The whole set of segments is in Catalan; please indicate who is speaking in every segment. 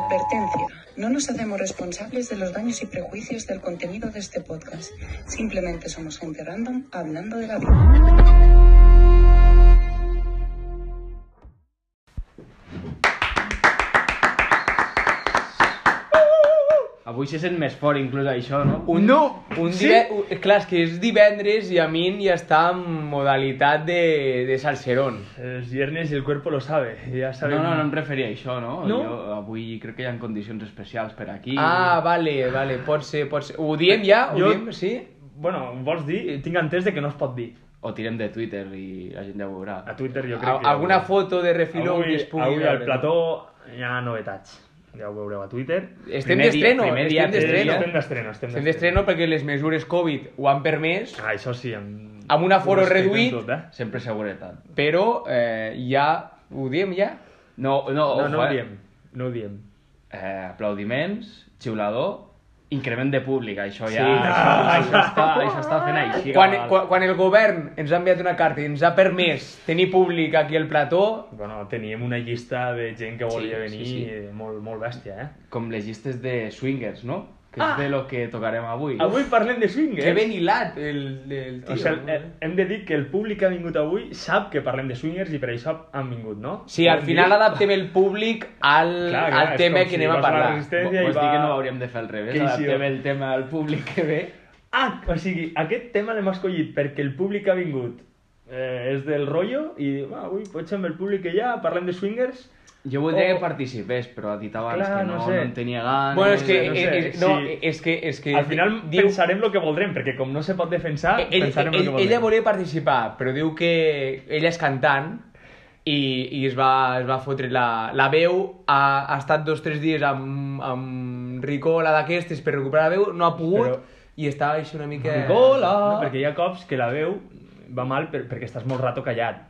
Speaker 1: Advertencia. No nos hacemos responsables de los daños y prejuicios del contenido de este podcast. Simplemente somos gente random hablando de la vida.
Speaker 2: Avui se sent més fort, inclús, això, no?
Speaker 3: Un, no! Un sí? Dive... Clar, és que és divendres i a mi ja està en modalitat de, de salserón.
Speaker 4: Els viernes el cuerpo lo sabe. Ja sabem...
Speaker 2: No, no, no em referia a això, no? no? Jo avui crec que hi ha condicions especials per aquí.
Speaker 3: Ah, vale, vale, pot ser, pot ser. Ho diem ja? Ho jo... diem, sí?
Speaker 4: Bueno, vols dir? Tinc entès de que no es pot dir
Speaker 2: o tirem de Twitter i la gent ja ho veurà.
Speaker 4: A
Speaker 3: Ah.
Speaker 4: Twitter jo crec
Speaker 3: que... Alguna avui... foto de refiló
Speaker 4: avui, que es pugui Avui al plató hi ha novetats ja ho veureu a Twitter.
Speaker 3: Estem d'estreno, estem
Speaker 4: d'estreno. Estem d'estreno,
Speaker 3: estem d'estreno. perquè les mesures Covid ho han permès.
Speaker 4: Ah, això sí, amb...
Speaker 3: Amb un aforo reduït. Tot,
Speaker 2: eh? Sempre seguretat.
Speaker 3: Però eh, ja... Ho diem ja?
Speaker 2: No, no,
Speaker 4: no, no ho diem. No ho diem.
Speaker 2: Eh, aplaudiments, xiulador, increment de públic, això ja... Sí. Això, això, està, això està fent així.
Speaker 3: Ah. Quan, quan, quan el govern ens ha enviat una carta i ens ha permès tenir públic aquí al plató...
Speaker 4: Bueno, teníem una llista de gent que volia sí, venir sí, sí. Molt, molt bèstia, eh?
Speaker 2: Com les llistes de swingers, no? Que ah. és de lo que tocarem avui.
Speaker 4: Avui parlem de swingers.
Speaker 3: Que ben hilat el, el tio.
Speaker 4: O sigui, hem de dir que Doncs el públic que ha vingut avui sap que parlem de swingers i per això han vingut, no?
Speaker 3: Sí, al final dir? adaptem el públic al, clar, clar, al tema que si anem a parlar.
Speaker 2: Vols va... dir pues que no ho hauríem de fer al revés, que adaptem el tema al públic que ve.
Speaker 4: Ah, o sigui, aquest tema l'hem escollit perquè el públic que ha vingut eh, és del rollo i va, avui potser amb el públic que hi ha parlem de swingers
Speaker 2: jo voldria o... que participés, però ha dit abans Clar, que Oh. no, no, sé. no en tenia ganes...
Speaker 3: Bueno, és que, no sé, és, no, sí. és que, és que...
Speaker 4: Al final diu... pensarem el que voldrem, perquè com no se pot defensar, ell, pensarem el
Speaker 3: ell,
Speaker 4: que voldrem.
Speaker 3: Ella volia participar, però diu que ella és cantant i, i es, va, es va fotre la, la veu, ha, ha estat dos o tres dies amb, amb Ricola d'aquestes per recuperar la veu, no ha pogut però... i estava així una mica...
Speaker 4: Ricola! Eh, No, perquè hi ha cops que la veu va mal per, perquè estàs molt rato callat.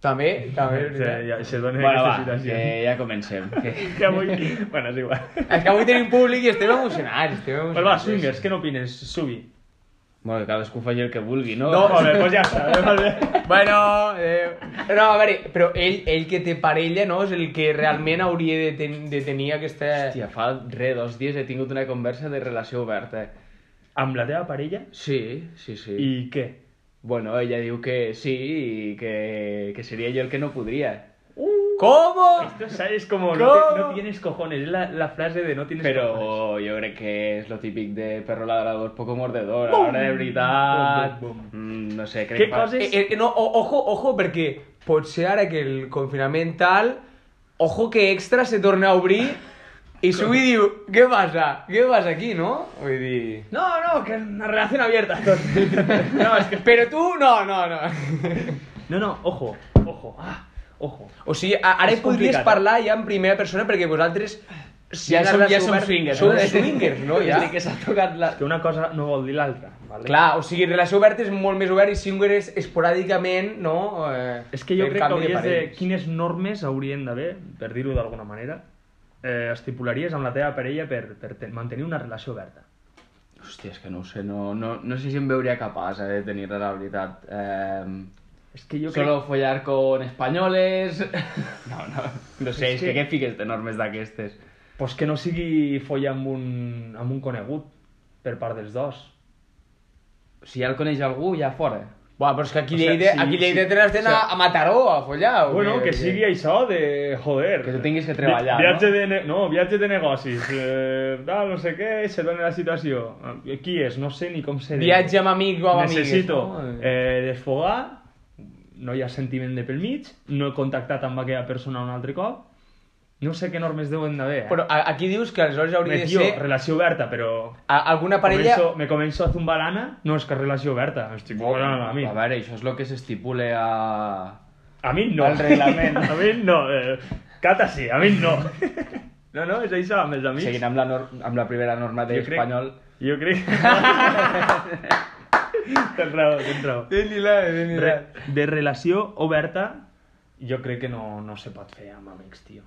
Speaker 3: També, també.
Speaker 4: Sí, ja, se dona bueno,
Speaker 2: va, eh, situació. que ja comencem.
Speaker 4: Que... que avui... Bueno, és igual.
Speaker 3: És que avui tenim públic i estem emocionats. Estem emocionats.
Speaker 4: Pues va, swingers, què n'opines? Subi.
Speaker 2: Bueno, cadascú faci el que vulgui, no?
Speaker 4: No, a veure, pues ja està. eh, Molt bé.
Speaker 3: Bueno, adéu.
Speaker 2: eh,
Speaker 3: No, a veure, però ell, ell que té parella, no? És el que realment hauria de, ten de tenir aquesta...
Speaker 2: Hòstia, fa re, dos dies he tingut una conversa de relació oberta.
Speaker 4: Amb la teva parella?
Speaker 2: Sí, sí, sí.
Speaker 4: I què?
Speaker 2: Bueno, ella diu que sí y que, que sería yo el que no podría.
Speaker 3: Uh, ¿Cómo?
Speaker 4: Esto sabes como ¿Cómo? No, te, no, tienes cojones, es la, la, frase de no tienes
Speaker 2: Pero
Speaker 4: cojones.
Speaker 2: yo creo que es lo típico de perro ladrador poco mordedor, bum, ahora de veritat... Bum, bum, mm, no sé, crec
Speaker 3: que... Coses... Eh, eh, no, ojo, ojo, perquè potser ara que el confinament tal, ojo que extra se torna a obrir I Subi diu, què passa? Què passa aquí, no? Vull dir...
Speaker 4: No, no, que és una relació abierta.
Speaker 3: no, és que... Però tu, no, no, no.
Speaker 4: no, no, ojo, ojo, ah, ojo.
Speaker 3: O sigui, ara és podries complicat. parlar ja en primera persona perquè vosaltres...
Speaker 2: Si eh? ja, som, ja som swingers. eh?
Speaker 3: Som swingers, no? Ja.
Speaker 2: És que s'ha tocat la...
Speaker 4: És que una cosa no vol dir l'altra. Vale?
Speaker 3: Clar, o sigui, relació oberta és molt més obert i swinger és esporàdicament, no?
Speaker 4: Eh, és que jo crec que hauries de, de... Quines normes haurien d'haver, per dir-ho d'alguna manera, eh, estipularies amb la teva parella per, per ten, mantenir una relació oberta?
Speaker 2: Hòstia, és que no ho sé, no, no, no sé si em veuria capaç eh, de tenir-la, la veritat. Eh,
Speaker 4: és que jo
Speaker 2: solo crec... follar con españoles... No, no, no sé, és, és que... que què fiques de normes d'aquestes?
Speaker 4: Pues que no sigui follar amb un, amb un conegut, per part dels dos.
Speaker 2: Si ja el coneix algú, ja fora.
Speaker 3: Buah, però és que aquí o Lleida, sigui, sí, aquí Lleida sí, te l'has d'anar o sigui, a Mataró a follar. O
Speaker 4: bueno, que, que sigui això de... Joder.
Speaker 2: Que tu tinguis que treballar,
Speaker 4: Vi viatge no? De ne... No, viatge de negocis. Eh, tal, no sé què, se dona la situació. Qui és? No sé ni com se
Speaker 3: diu. Viatge amb amic o amb amigues.
Speaker 4: Necessito no? eh, desfogar, no hi ha sentiment de pel mig, no he contactat amb aquella persona un altre cop, no sé què normes deuen d'haver. Eh?
Speaker 3: Però aquí dius que aleshores hauria
Speaker 4: me,
Speaker 3: de ser...
Speaker 4: relació oberta, però...
Speaker 3: A, alguna parella...
Speaker 4: Començo, me començo a zumbar l'Anna, no és que relació oberta, estic oh,
Speaker 2: a mi. A veure, això és el que s'estipule a...
Speaker 4: A mi no.
Speaker 2: Al reglament.
Speaker 4: a mi no. Eh, Cata sí, a mi no. no, no, és això, amb els amics.
Speaker 2: Seguint amb la, nor amb la primera norma d'espanyol.
Speaker 4: De jo crec... tens raó, tens raó.
Speaker 3: Tens la, tens
Speaker 4: Re, de relació oberta, jo crec que no, no se pot fer amb amics, tio.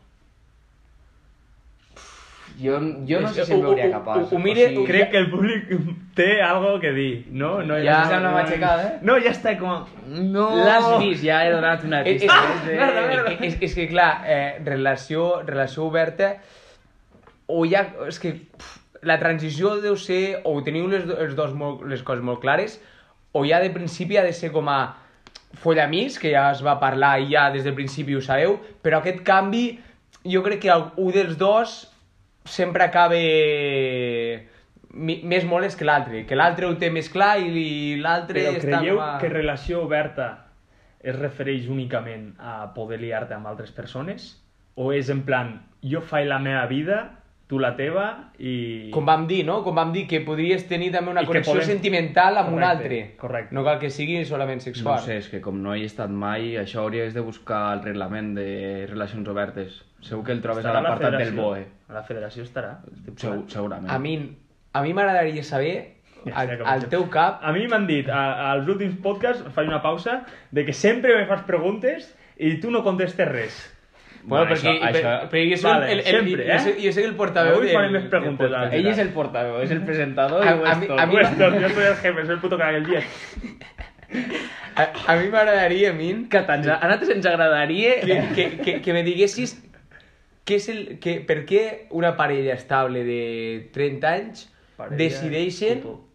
Speaker 2: Jo, jo no sé si em veuria capaç.
Speaker 4: Ho, mire, o sigui... Crec que el públic té algo que dir, no? no
Speaker 2: ja no, no, aixecada, eh?
Speaker 4: No, ja està com... No!
Speaker 2: L'has vist, ja he donat una
Speaker 3: eh,
Speaker 2: pista.
Speaker 3: És, és, és, és, que, clar, eh, relació, relació eh, oberta o ja... És que pff, la transició deu ser... O teniu les, do- els dos molt, les coses molt clares, o ja de principi ha de ser com a follamís, que ja es va parlar i ja des del principi ho sabeu, però aquest canvi jo crec que un dels dos sempre acaba mi- més molest que l'altre, que l'altre ho té més clar i, i l'altre
Speaker 4: Però
Speaker 3: està
Speaker 4: creieu
Speaker 3: com a...
Speaker 4: que relació oberta es refereix únicament a poder liar-te amb altres persones? O és en plan, jo faig la meva vida, tu la teva i...
Speaker 3: Com vam dir, no? Com vam dir, que podries tenir també una
Speaker 4: I que
Speaker 3: connexió
Speaker 4: podem-
Speaker 3: sentimental amb un
Speaker 4: Correcte,
Speaker 3: altre.
Speaker 4: correcte.
Speaker 3: No cal que sigui solament
Speaker 2: No
Speaker 3: sexual.
Speaker 2: sé, Doncs és que com no hi he estat mai, això hauries de buscar el reglament de relacions obertes. Segur que el trobes
Speaker 4: Estarà
Speaker 2: a l'apartat del
Speaker 4: federació.
Speaker 2: BOE.
Speaker 4: A la federació estarà.
Speaker 2: Segur, segurament.
Speaker 3: A mi a mi m'agradaria saber,
Speaker 4: Ja
Speaker 3: al,
Speaker 4: sé Ah, com
Speaker 3: al
Speaker 4: això.
Speaker 3: teu cap,
Speaker 4: A mi m'han dit, a- als últims podcasts, faig una pausa, de que sempre me fas preguntes i tu no contestes res.
Speaker 2: Bueno,
Speaker 3: Bueno, perquè,
Speaker 2: això-
Speaker 3: per-
Speaker 2: això-
Speaker 3: perquè jo soc
Speaker 4: Vale,
Speaker 3: el, el,
Speaker 4: sempre,
Speaker 3: jo
Speaker 4: eh?
Speaker 3: soc- jo soc el portaveu
Speaker 4: Avui
Speaker 3: del-
Speaker 4: farem les
Speaker 3: del
Speaker 4: preguntes,
Speaker 3: podcast.
Speaker 4: Àngel.
Speaker 2: Ell és el portaveu, és el presentador
Speaker 3: A-
Speaker 2: i
Speaker 3: a mi-
Speaker 2: Weston.
Speaker 3: a mi m'ha-
Speaker 4: Puestos, yo doncs soy el jefe, soy el puto que aquel día.
Speaker 3: A, a mi m'agradaria, a mi,
Speaker 5: Que tant, a nosaltres ens agradaria...
Speaker 3: que, que, que, que me diguessis què és el, que, per què una parella estable de 30 anys decideixen...
Speaker 4: Puto.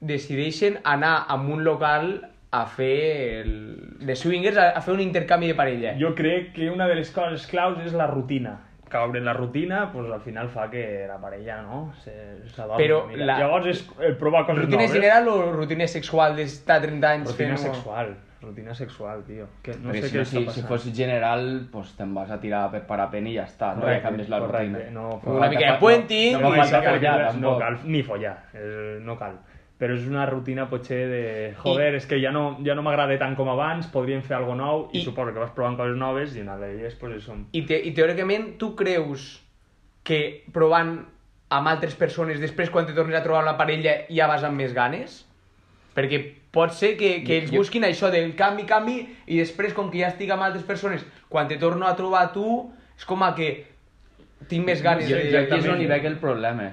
Speaker 3: decideixen anar a un local a fer el... de swingers, a, a fer un intercanvi de parella. Jo...
Speaker 4: Jo crec que una de les coses claus és la rutina. Caure en la rutina, pues, al final fa que la parella no? se- s'adormi.
Speaker 3: Però
Speaker 4: Mira,
Speaker 3: la-
Speaker 4: Llavors és eh, provar coses
Speaker 3: Rutina
Speaker 4: noves.
Speaker 3: general o rutina sexual d'estar 30 anys
Speaker 4: Rutina
Speaker 3: fent...
Speaker 4: sexual. Rutina sexual, tio. Que no
Speaker 2: Perquè
Speaker 4: sé
Speaker 2: si,
Speaker 4: què
Speaker 2: no, si,
Speaker 4: està
Speaker 2: si
Speaker 4: passant.
Speaker 2: fos general, pues te'n vas a tirar per parapent i ja està, no? Ja
Speaker 4: Correcte,
Speaker 2: canvies la
Speaker 4: correcte.
Speaker 2: rutina.
Speaker 4: No,
Speaker 2: Però
Speaker 3: una
Speaker 2: no
Speaker 3: mica de
Speaker 2: fa-
Speaker 3: puenting,
Speaker 2: No,
Speaker 4: No,
Speaker 2: no,
Speaker 4: cal
Speaker 2: fa falta
Speaker 4: follar,
Speaker 2: follar,
Speaker 4: no
Speaker 2: tampoc.
Speaker 4: cal, ni follar, eh, no cal. Però és una rutina potser de... Joder, és que ja no, ja no m'agrada tant com abans, podríem fer alguna nou, i,
Speaker 3: I-
Speaker 4: suposo que vas provant coses noves i una d'elles pues, és un...
Speaker 3: I, te, I teòricament tu creus que provant amb altres persones després quan te tornes a trobar una parella ja vas amb més ganes? Perquè pot ser que, que ells
Speaker 2: Jo-
Speaker 3: busquin això del canvi, canvi, i després com que ja estic amb altres persones, quan te torno a trobar a tu, és com a que tinc més ganes.
Speaker 2: Jo,
Speaker 3: de-
Speaker 2: jo aquí és
Speaker 4: Exactament.
Speaker 2: on hi veig el problema.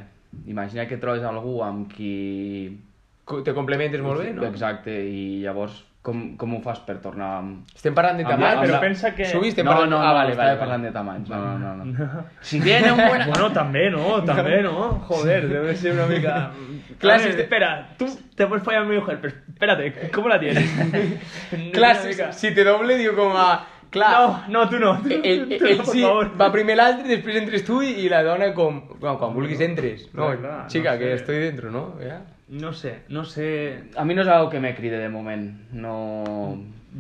Speaker 2: Imagina que trobes algú amb qui...
Speaker 3: Co- Te complementes molt bé, no?
Speaker 2: Exacte, i llavors com, com ho fas per tornar amb...
Speaker 3: Estem parlant de
Speaker 2: Ah,
Speaker 3: tamanys.
Speaker 2: però
Speaker 4: pensa que-
Speaker 3: Sovint estem
Speaker 2: no,
Speaker 3: parlant...
Speaker 2: no, no,
Speaker 3: ah, vale,
Speaker 2: estava
Speaker 3: vale,
Speaker 2: parlant
Speaker 3: vale.
Speaker 2: de tamanys. No, no, no. no.
Speaker 5: Si viene un buen...
Speaker 4: Bueno, també, no? També, no? Joder, debe ser una mica...
Speaker 3: Clases
Speaker 4: A ver,
Speaker 3: de-
Speaker 4: Espera, tú te puedes follar a mi mujer, pero espérate, ¿cómo la tienes?
Speaker 3: Clàssic,
Speaker 4: Una mica-
Speaker 3: si te doble, diu com a... Clar,
Speaker 4: No, no, tú no. tú-
Speaker 3: ell, ell,
Speaker 4: tú no,
Speaker 3: ell
Speaker 4: por
Speaker 3: sí,
Speaker 4: favor.
Speaker 3: va primer l'altre, després entres tu i, i la dona com... Bueno, quan vulguis entres. No,
Speaker 4: Clar, clar,
Speaker 3: xica,
Speaker 4: no sé.
Speaker 3: que estoy dentro, no? Ja.
Speaker 4: No sé, no sé...
Speaker 2: A mi no és algo que me cride de moment. No...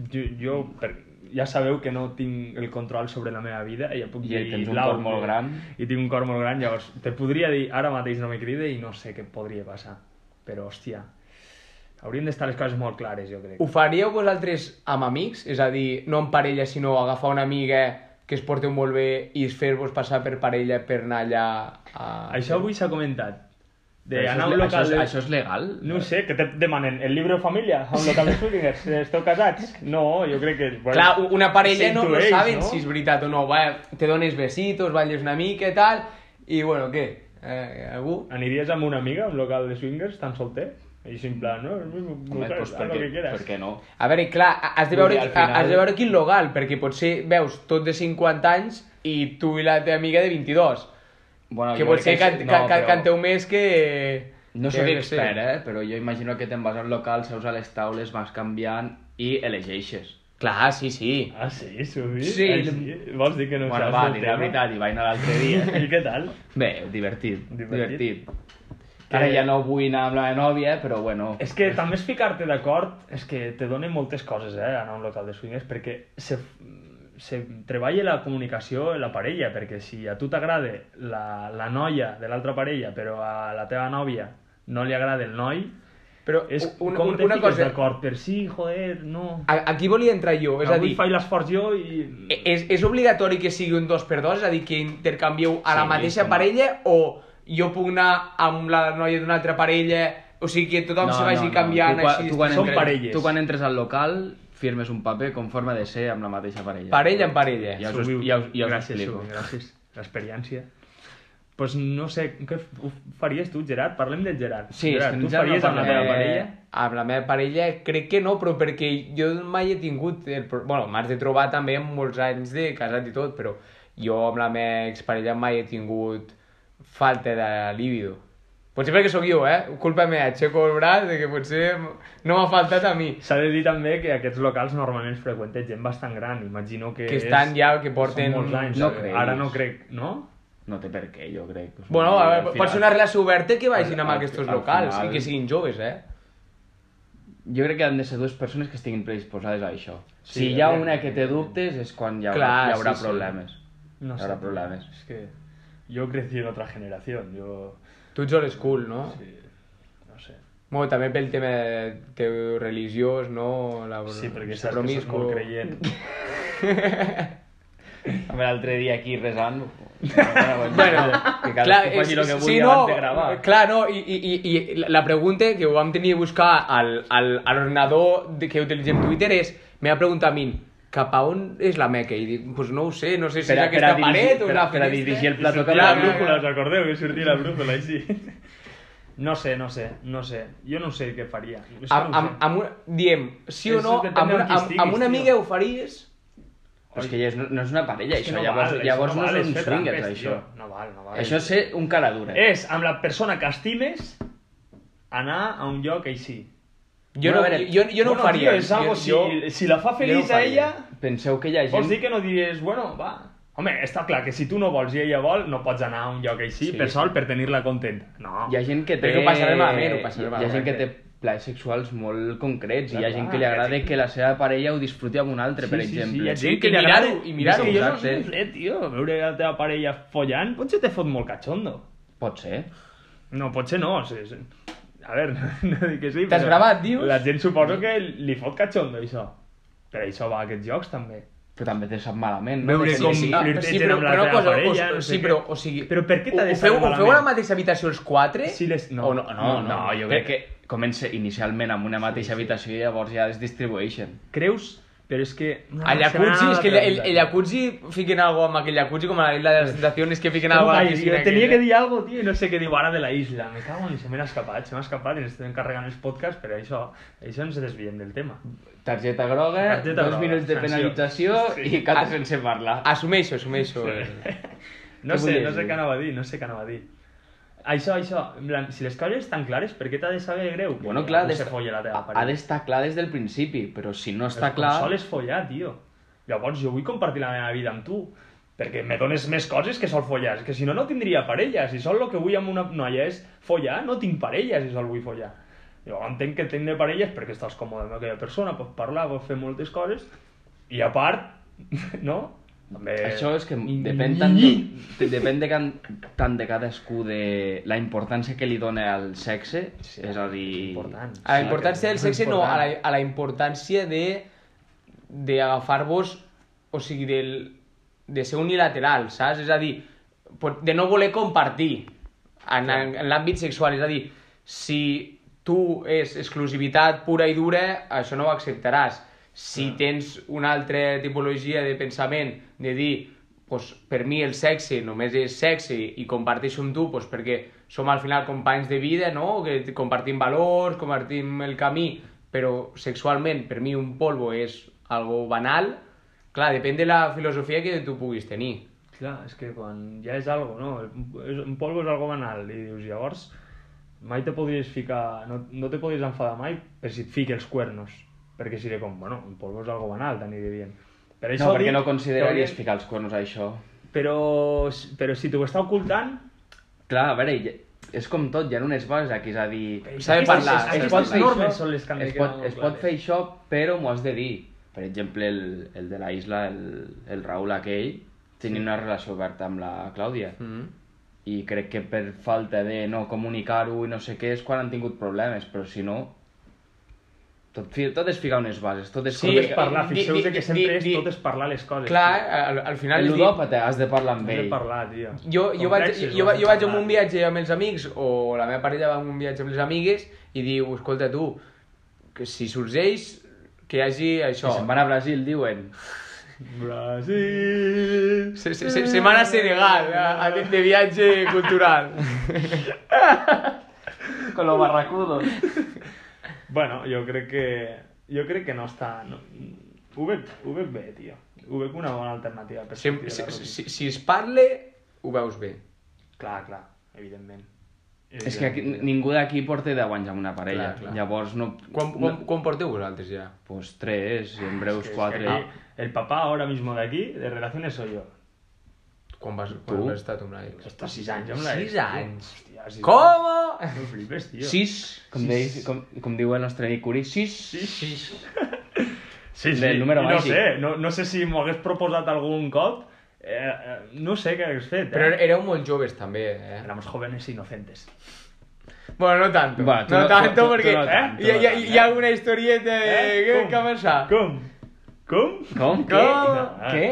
Speaker 4: Jo, jo per, ja sabeu que no tinc el control sobre la meva vida i ja puc
Speaker 2: I
Speaker 4: dir...
Speaker 2: tens un
Speaker 4: "Lau,
Speaker 2: cor molt
Speaker 4: eh,
Speaker 2: gran".
Speaker 4: I tinc un cor molt gran, llavors te podria dir ara mateix no me crida i no sé què podria passar. Però, hòstia, haurien d'estar les coses molt clares, jo crec.
Speaker 3: Ho faríeu vosaltres amb amics? És a dir, no en parella, sinó agafar una amiga que es porteu molt bé i fer-vos passar per parella per anar allà a...
Speaker 4: Això avui s'ha comentat. De
Speaker 2: Però això,
Speaker 4: anar a
Speaker 2: és,
Speaker 4: un
Speaker 2: le- això,
Speaker 4: local...
Speaker 2: és,
Speaker 4: de-
Speaker 2: això és legal?
Speaker 4: No ho sé, que te demanen el llibre de família a un local de swingers. Esteu casats? No, jo crec que... Bueno,
Speaker 3: Clar, u- una parella no, no
Speaker 4: s'intueix,
Speaker 3: saben si és veritat o no. Va, te dones besitos, balles una mica i tal, i bueno, què? Eh, algú?
Speaker 4: Aniries amb una amiga a un local de swingers tan solter? I així en plan, no?
Speaker 2: Home, doncs
Speaker 4: Home,
Speaker 2: pues, per, què, per què no?
Speaker 3: A veure, clar, ha- has de
Speaker 2: Vull
Speaker 3: veure,
Speaker 2: dir, al final-
Speaker 3: has de veure quin local, perquè potser veus tot de 50 anys i tu i la teva amiga de 22.
Speaker 2: Bueno,
Speaker 3: que
Speaker 2: jo crec
Speaker 3: potser
Speaker 2: és-
Speaker 3: can, can,
Speaker 2: però-
Speaker 3: canteu més que...
Speaker 2: No
Speaker 3: que
Speaker 2: sóc
Speaker 3: jo què
Speaker 2: expert,
Speaker 3: sé.
Speaker 2: eh? però jo imagino que te'n vas al local, seus a les taules, vas canviant i elegeixes.
Speaker 3: Clar, sí, sí.
Speaker 4: Ah, sí? Subir?
Speaker 2: Sí.
Speaker 4: Ah, sí? Vols dir que no
Speaker 2: No bueno,
Speaker 4: saps
Speaker 2: va,
Speaker 4: del
Speaker 2: dir
Speaker 4: tema?
Speaker 2: la veritat, i vaig anar l'altre dia.
Speaker 4: I què tal?
Speaker 2: Bé, divertit,
Speaker 4: Divertit.
Speaker 2: divertit. Ara
Speaker 4: Que-
Speaker 2: ja no vull anar amb la meva nòvia, eh, però bueno...
Speaker 4: És que també és ficar-te d'acord, és que te donen moltes coses, eh, anar a un local de swingers, perquè se, se treballa la comunicació en la parella, perquè si a tu t'agrada la, la noia de l'altra parella, però a la teva nòvia no li agrada el noi,
Speaker 3: Però
Speaker 4: és
Speaker 3: un,
Speaker 4: com
Speaker 3: un,
Speaker 4: te
Speaker 3: una
Speaker 4: fiques
Speaker 3: cosa...
Speaker 4: d'acord per si, joder, no...
Speaker 2: Ah,
Speaker 3: a- Aquí volia entrar jo, és a
Speaker 4: Avui
Speaker 3: dir...
Speaker 4: faig l'esforç jo i...
Speaker 2: Mm. Eh,
Speaker 3: E- És, és obligatori que sigui un dos per dos? És a dir, que intercanvieu a la
Speaker 2: Sí,
Speaker 3: mateixa
Speaker 2: com-
Speaker 3: parella o jo puc anar amb la noia d'una altra parella o sigui que tothom se vagi canviant
Speaker 2: tu, quan-
Speaker 3: així?
Speaker 2: tu quan
Speaker 4: Són
Speaker 2: entres-
Speaker 4: parelles.
Speaker 2: Tu quan entres al local firmes un paper con forma de ser amb la mateixa parella.
Speaker 3: Parella en parella.
Speaker 2: Ja us,
Speaker 4: Subiu.
Speaker 2: ja us, ja us
Speaker 4: gràcies,
Speaker 2: explico.
Speaker 4: Subiu, gràcies. L'experiència. Pues no sé, què f- ho faries tu, Gerard? Parlem del Gerard.
Speaker 2: Sí, és
Speaker 4: Gerard,
Speaker 2: que
Speaker 4: tu
Speaker 2: ja no
Speaker 4: faries amb la
Speaker 2: parlem.
Speaker 4: teva
Speaker 2: Eh,
Speaker 4: parella?
Speaker 3: Amb la meva parella crec que no, però perquè jo mai he tingut... El, pro- bueno, m'has de trobar també amb molts anys de casat i tot, però jo amb la meva exparella mai he tingut falta de líbido. Potser perquè sóc jo, eh? Culpa meva, aixeco el braç de que potser no m'ha faltat a mi.
Speaker 4: S'ha de dir també que aquests locals normalment es freqüenten gent bastant gran, imagino que...
Speaker 3: Que estan ja, que porten...
Speaker 4: Porten molts anys,
Speaker 2: No
Speaker 4: eh?
Speaker 2: crec.
Speaker 4: ara no crec, no?
Speaker 2: No té per què, jo crec. O sigui,
Speaker 3: Bueno, a
Speaker 2: al
Speaker 3: veure, pot
Speaker 2: final-
Speaker 3: ser una relació oberta que vagin
Speaker 2: Al-
Speaker 3: amb
Speaker 2: al-
Speaker 3: aquests
Speaker 2: al
Speaker 3: locals
Speaker 2: final-
Speaker 3: i que siguin joves, eh?
Speaker 2: Jo crec que han de ser dues persones que estiguin predisposades a això.
Speaker 4: Sí,
Speaker 2: si hi ha
Speaker 4: evidentment.
Speaker 2: una que té dubtes és quan hi haurà,
Speaker 3: Clar,
Speaker 2: hi haurà
Speaker 3: sí, sí.
Speaker 2: problemes.
Speaker 4: No
Speaker 2: Hi haurá problemas.
Speaker 4: Es que yo crecí en otra generación, yo...
Speaker 3: Tu ets old school, no?
Speaker 4: sí, no sé.
Speaker 3: Bueno, també pel tema de teu religiós, no? La,
Speaker 4: Sí, perquè
Speaker 3: el
Speaker 4: saps que sos
Speaker 3: promiscu.
Speaker 4: molt creient.
Speaker 2: A veure, l'altre dia aquí resant...
Speaker 3: Bueno,
Speaker 2: que
Speaker 3: clar,
Speaker 2: cadascú faci
Speaker 3: és-
Speaker 2: el que vulgui
Speaker 3: sí,
Speaker 2: abans
Speaker 3: no,
Speaker 2: de gravar.
Speaker 3: clar, no, i, i, i, i la pregunta que ho vam tenir a buscar al, al, a l'ordenador de- que utilitzem Twitter és, m'ha preguntat a mi, cap a on és la meca? I dic, pues no ho sé, no sé si
Speaker 2: Per
Speaker 3: és
Speaker 2: a- per a
Speaker 3: aquesta
Speaker 2: dirigir-
Speaker 3: paret o
Speaker 2: per a-
Speaker 3: una
Speaker 2: per a
Speaker 3: finestra.
Speaker 2: dirigir el
Speaker 4: La
Speaker 2: plato
Speaker 4: tocar
Speaker 2: cap
Speaker 4: la
Speaker 2: a
Speaker 3: Clar,
Speaker 2: la
Speaker 4: brújula, us acordeu que sortia la brújula així? No sé, no sé, no sé. Jo no sé què faria. És que
Speaker 3: Amb,
Speaker 4: no ho
Speaker 3: amb,
Speaker 4: sé.
Speaker 3: amb una, diem, sí o
Speaker 4: Eso
Speaker 3: no,
Speaker 4: depèn
Speaker 3: amb una,
Speaker 4: amb qui
Speaker 3: amb, amb una
Speaker 4: estiguis,
Speaker 3: amiga
Speaker 4: tio.
Speaker 3: ho faries?
Speaker 2: Però és que ja és, no, no és una parella,
Speaker 4: És que
Speaker 2: això.
Speaker 4: no
Speaker 2: llavors
Speaker 4: val,
Speaker 2: llavors
Speaker 4: això
Speaker 2: no,
Speaker 4: val, és
Speaker 2: són
Speaker 4: fer
Speaker 2: swingers,
Speaker 4: trampes,
Speaker 2: això.
Speaker 4: tio. No val, no val.
Speaker 2: Això és ser un cara dura.
Speaker 4: És amb la persona que estimes anar a un lloc així.
Speaker 3: Jo,
Speaker 2: Bueno,
Speaker 3: no,
Speaker 2: a veure,
Speaker 3: jo, jo no
Speaker 4: bueno,
Speaker 3: ho faria.
Speaker 4: Tio, és algo, si,
Speaker 3: jo,
Speaker 4: si la
Speaker 2: Jo no
Speaker 4: fa
Speaker 2: ho
Speaker 4: feliç a
Speaker 2: faria.
Speaker 4: ella,
Speaker 2: Penseu que hi ha gent...
Speaker 4: Vols dir que no diries, bueno, va... Home, està clar que si tu no vols i ella vol, no pots anar a un lloc així
Speaker 2: Sí.
Speaker 4: sí. per sol per tenir-la contenta. No.
Speaker 2: Hi ha gent que té...
Speaker 3: Perquè ho passaré malament, ho passaré
Speaker 2: Hi ha gent
Speaker 3: malament.
Speaker 2: que té plans sexuals molt concrets i hi ha
Speaker 4: Clar,
Speaker 2: gent que li
Speaker 4: clar,
Speaker 2: agrada
Speaker 4: que sí.
Speaker 2: que la seva parella ho disfruti amb un altre, per exemple.
Speaker 4: hi ha gent
Speaker 3: Sí,
Speaker 4: que
Speaker 3: i
Speaker 4: li
Speaker 3: mirar-ho,
Speaker 4: agrada-
Speaker 3: i mirar-ho,
Speaker 4: És que jo no
Speaker 2: exacte.
Speaker 4: sé, eh, tio, veure la teva parella follant, potser te fot molt cachondo.
Speaker 2: Pot ser.
Speaker 4: No, potser no, sí, sí. A veure, no dic que sí,
Speaker 3: T'has
Speaker 4: però
Speaker 3: gravat, dius?
Speaker 4: La gent suposo que li fot cachondo, això. Per això va a aquests jocs, també.
Speaker 2: Però també te sap malament, no?
Speaker 4: Veure
Speaker 2: Sí,
Speaker 4: com-
Speaker 2: sí.
Speaker 4: Ah, flirtegen amb la teva parella,
Speaker 3: o,
Speaker 4: no sé
Speaker 3: sí,
Speaker 4: què.
Speaker 3: però, o sigui...
Speaker 4: Però per què t'ha de
Speaker 3: ho
Speaker 4: saber
Speaker 3: feu, ho feu
Speaker 4: malament?
Speaker 3: a la mateixa habitació els quatre?
Speaker 4: Si les- no.
Speaker 3: O no, no,
Speaker 2: No, no, jo crec que comença inicialment amb una mateixa habitació i llavors ja es distribueixen.
Speaker 4: Creus? Però és que...
Speaker 3: El jacuzzi, és que el, el, el
Speaker 4: jacuzzi...
Speaker 3: jacuzzi fiquen alguna cosa amb aquell jacuzzi, com a la isla de
Speaker 4: Pues,
Speaker 3: les tentacions que fiquen alguna cosa a la piscina. aquella.
Speaker 4: tenia eh, que dir algo, tío, y no sé qué digo ahora de la isla. Me cago en... Se me ha escapat, se m'ha escapat i ens estem carregant els podcasts, però això, això ens desviem del tema.
Speaker 2: Targeta groga,
Speaker 4: Targeta
Speaker 2: dos
Speaker 4: groga,
Speaker 2: minuts de
Speaker 4: sanció.
Speaker 2: penalització
Speaker 4: Sí. Ah,
Speaker 2: i cada sense parlar.
Speaker 3: Assumeixo, assumeixo.
Speaker 4: No
Speaker 2: Què
Speaker 4: sé,
Speaker 2: volies
Speaker 4: no sé
Speaker 2: dir?
Speaker 4: què anava a dir, no sé què anava a dir. Això, això, en plan, si les coses estan clares, per què t'ha de saber greu? que
Speaker 2: Bueno, clar,
Speaker 4: algú
Speaker 2: des-
Speaker 4: se folla la teva
Speaker 2: ha, ha
Speaker 4: parella?
Speaker 2: d'estar clar des del principi, però si no està
Speaker 4: Però
Speaker 2: clar...
Speaker 4: Com sol és follar, tio. Llavors jo vull compartir la meva vida amb tu, perquè me dones més coses que sol follar. És que si no, no tindria parella. Si sol el que vull amb una noia és follar, no tinc parella si sol vull follar. Jo entenc que tindré parelles perquè estàs còmode amb aquella persona, pots parlar, pots fer moltes coses, i a part, no? També...
Speaker 2: Això és que depèn tant de, de- depèn de can, tant de cadascú de la importància que li dona al sexe,
Speaker 4: Sí,
Speaker 2: és a dir... Ah,
Speaker 4: és important.
Speaker 3: A la importància del
Speaker 4: És
Speaker 3: sexe, no, a
Speaker 4: important.
Speaker 3: la, a la importància de d'agafar-vos, o sigui, del, de ser unilateral, saps? És a dir, pot- de no voler compartir en, en, en l'àmbit sexual. És a dir, si tu és exclusivitat pura i dura, això no ho acceptaràs. Si tens una altra tipologia de pensament, de dir, pues, per mi el sexe només és sexe i comparteixo amb tu pues, perquè som al final companys de vida, no? que compartim valors, compartim el camí, però sexualment per mi un polvo és algo banal, clar, depèn de la filosofia que tu puguis tenir.
Speaker 4: Clar, és que quan ja és algo, no? És- Un polvo és algo banal i dius, llavors mai te podries ficar, no, no te podries enfadar mai per si et fiqui els cuernos, perquè seré com, bueno, un polvo és algo banal, t'aniré dient. Per
Speaker 2: No, perquè
Speaker 4: dic
Speaker 2: no consideraries
Speaker 4: que hauries-
Speaker 2: ficar els cornos a això.
Speaker 4: Però, però si t'ho està ocultant...
Speaker 2: Clar, a veure, hi- és com tot, hi ha unes bases aquí, és a dir...
Speaker 3: S'ha de parlar,
Speaker 4: aquestes-
Speaker 3: s'ha de
Speaker 4: aquestes
Speaker 3: parlar.
Speaker 4: normes són les que han de
Speaker 2: es
Speaker 4: quedar
Speaker 2: pot,
Speaker 4: molt
Speaker 2: es pot
Speaker 4: clares.
Speaker 2: fer això, però m'ho has de dir. Per exemple, el, el de la isla, el, el Raül aquell, tenia una relació oberta amb la Clàudia.
Speaker 3: Mm.
Speaker 2: Mm-hmm. I crec que per falta de no comunicar-ho i no sé què és quan han tingut problemes, però si no... Tot, fi- tot és ficar unes bases, tot és...
Speaker 4: Sí, tot és parlar,
Speaker 3: di-
Speaker 4: fixeu-vos
Speaker 3: di-
Speaker 4: que
Speaker 3: di-
Speaker 4: sempre és
Speaker 3: di-
Speaker 4: tot és parlar les coses.
Speaker 3: Clar,
Speaker 4: tio.
Speaker 3: al, al final...
Speaker 2: El
Speaker 3: és dir-
Speaker 2: ludòpata, has de parlar amb
Speaker 4: Has de
Speaker 2: ell.
Speaker 4: parlar, tio.
Speaker 3: Jo, jo, vaig,
Speaker 4: Complexes,
Speaker 3: jo, va-
Speaker 4: has de
Speaker 3: jo vaig
Speaker 4: parlar.
Speaker 3: amb un viatge amb els amics o la meva parella va amb un viatge amb les amigues i diu, escolta tu, que si sorgeix que hi hagi això.
Speaker 2: Si se'n van a Brasil, diuen.
Speaker 4: Brasil...
Speaker 3: Se, se, se, se van a Senegal, ah, a, a, de, de viatge cultural.
Speaker 2: Con los barracudos.
Speaker 4: Bueno, jo crec que... Jo crec que no està... No... Ho veig, ho veig bé, tio. Ho veig una bona alternativa. Per
Speaker 3: Si,
Speaker 4: sortir de la
Speaker 3: si,
Speaker 4: rutina.
Speaker 3: si, si es parle, ho veus bé.
Speaker 4: Clar, clar, evidentment.
Speaker 2: És que aquí, ningú d'aquí porta 10 anys amb una parella.
Speaker 4: Clar, clar.
Speaker 2: Llavors no...
Speaker 3: Quan,
Speaker 2: no-
Speaker 3: quan, quan porteu vosaltres ja?
Speaker 2: Pues 3, i en breus
Speaker 4: Es que
Speaker 2: 4.
Speaker 4: aquí el papá ahora mismo de aquí, de relaciones, soy yo. Pues
Speaker 3: Quan vas, quan vas estar tu amb la ex?
Speaker 4: Estos 6 años, hombre.
Speaker 3: Sis anys?
Speaker 4: E, Hòstia, sis anys.
Speaker 3: Com?
Speaker 4: No flipes, tío.
Speaker 2: 6, com, deis, com, com diu el nostre amic Curi, 6.
Speaker 4: Sí, sí.
Speaker 2: Del número
Speaker 4: I no
Speaker 2: màgic.
Speaker 4: sé, no, no sé si m'ho hagués proposat algun cop. Eh, eh, no sé què hagués fet. Eh?
Speaker 3: Però éreu molt joves també, eh?
Speaker 4: Éramos jóvenes e inocentes.
Speaker 3: Bueno, no tanto.
Speaker 2: Bueno, tú
Speaker 3: no,
Speaker 2: no-
Speaker 3: tanto
Speaker 2: tú- tú
Speaker 3: porque
Speaker 2: no
Speaker 3: ¿eh?
Speaker 2: tanto,
Speaker 3: hi, ha-
Speaker 2: no
Speaker 3: hi ha-
Speaker 2: tanto,
Speaker 3: hi ha alguna historieta
Speaker 4: Eh?
Speaker 3: que,
Speaker 4: Com?
Speaker 3: que ha passat.
Speaker 4: Com? Com? Ah.
Speaker 2: Com? Què?
Speaker 3: Com?
Speaker 2: Què?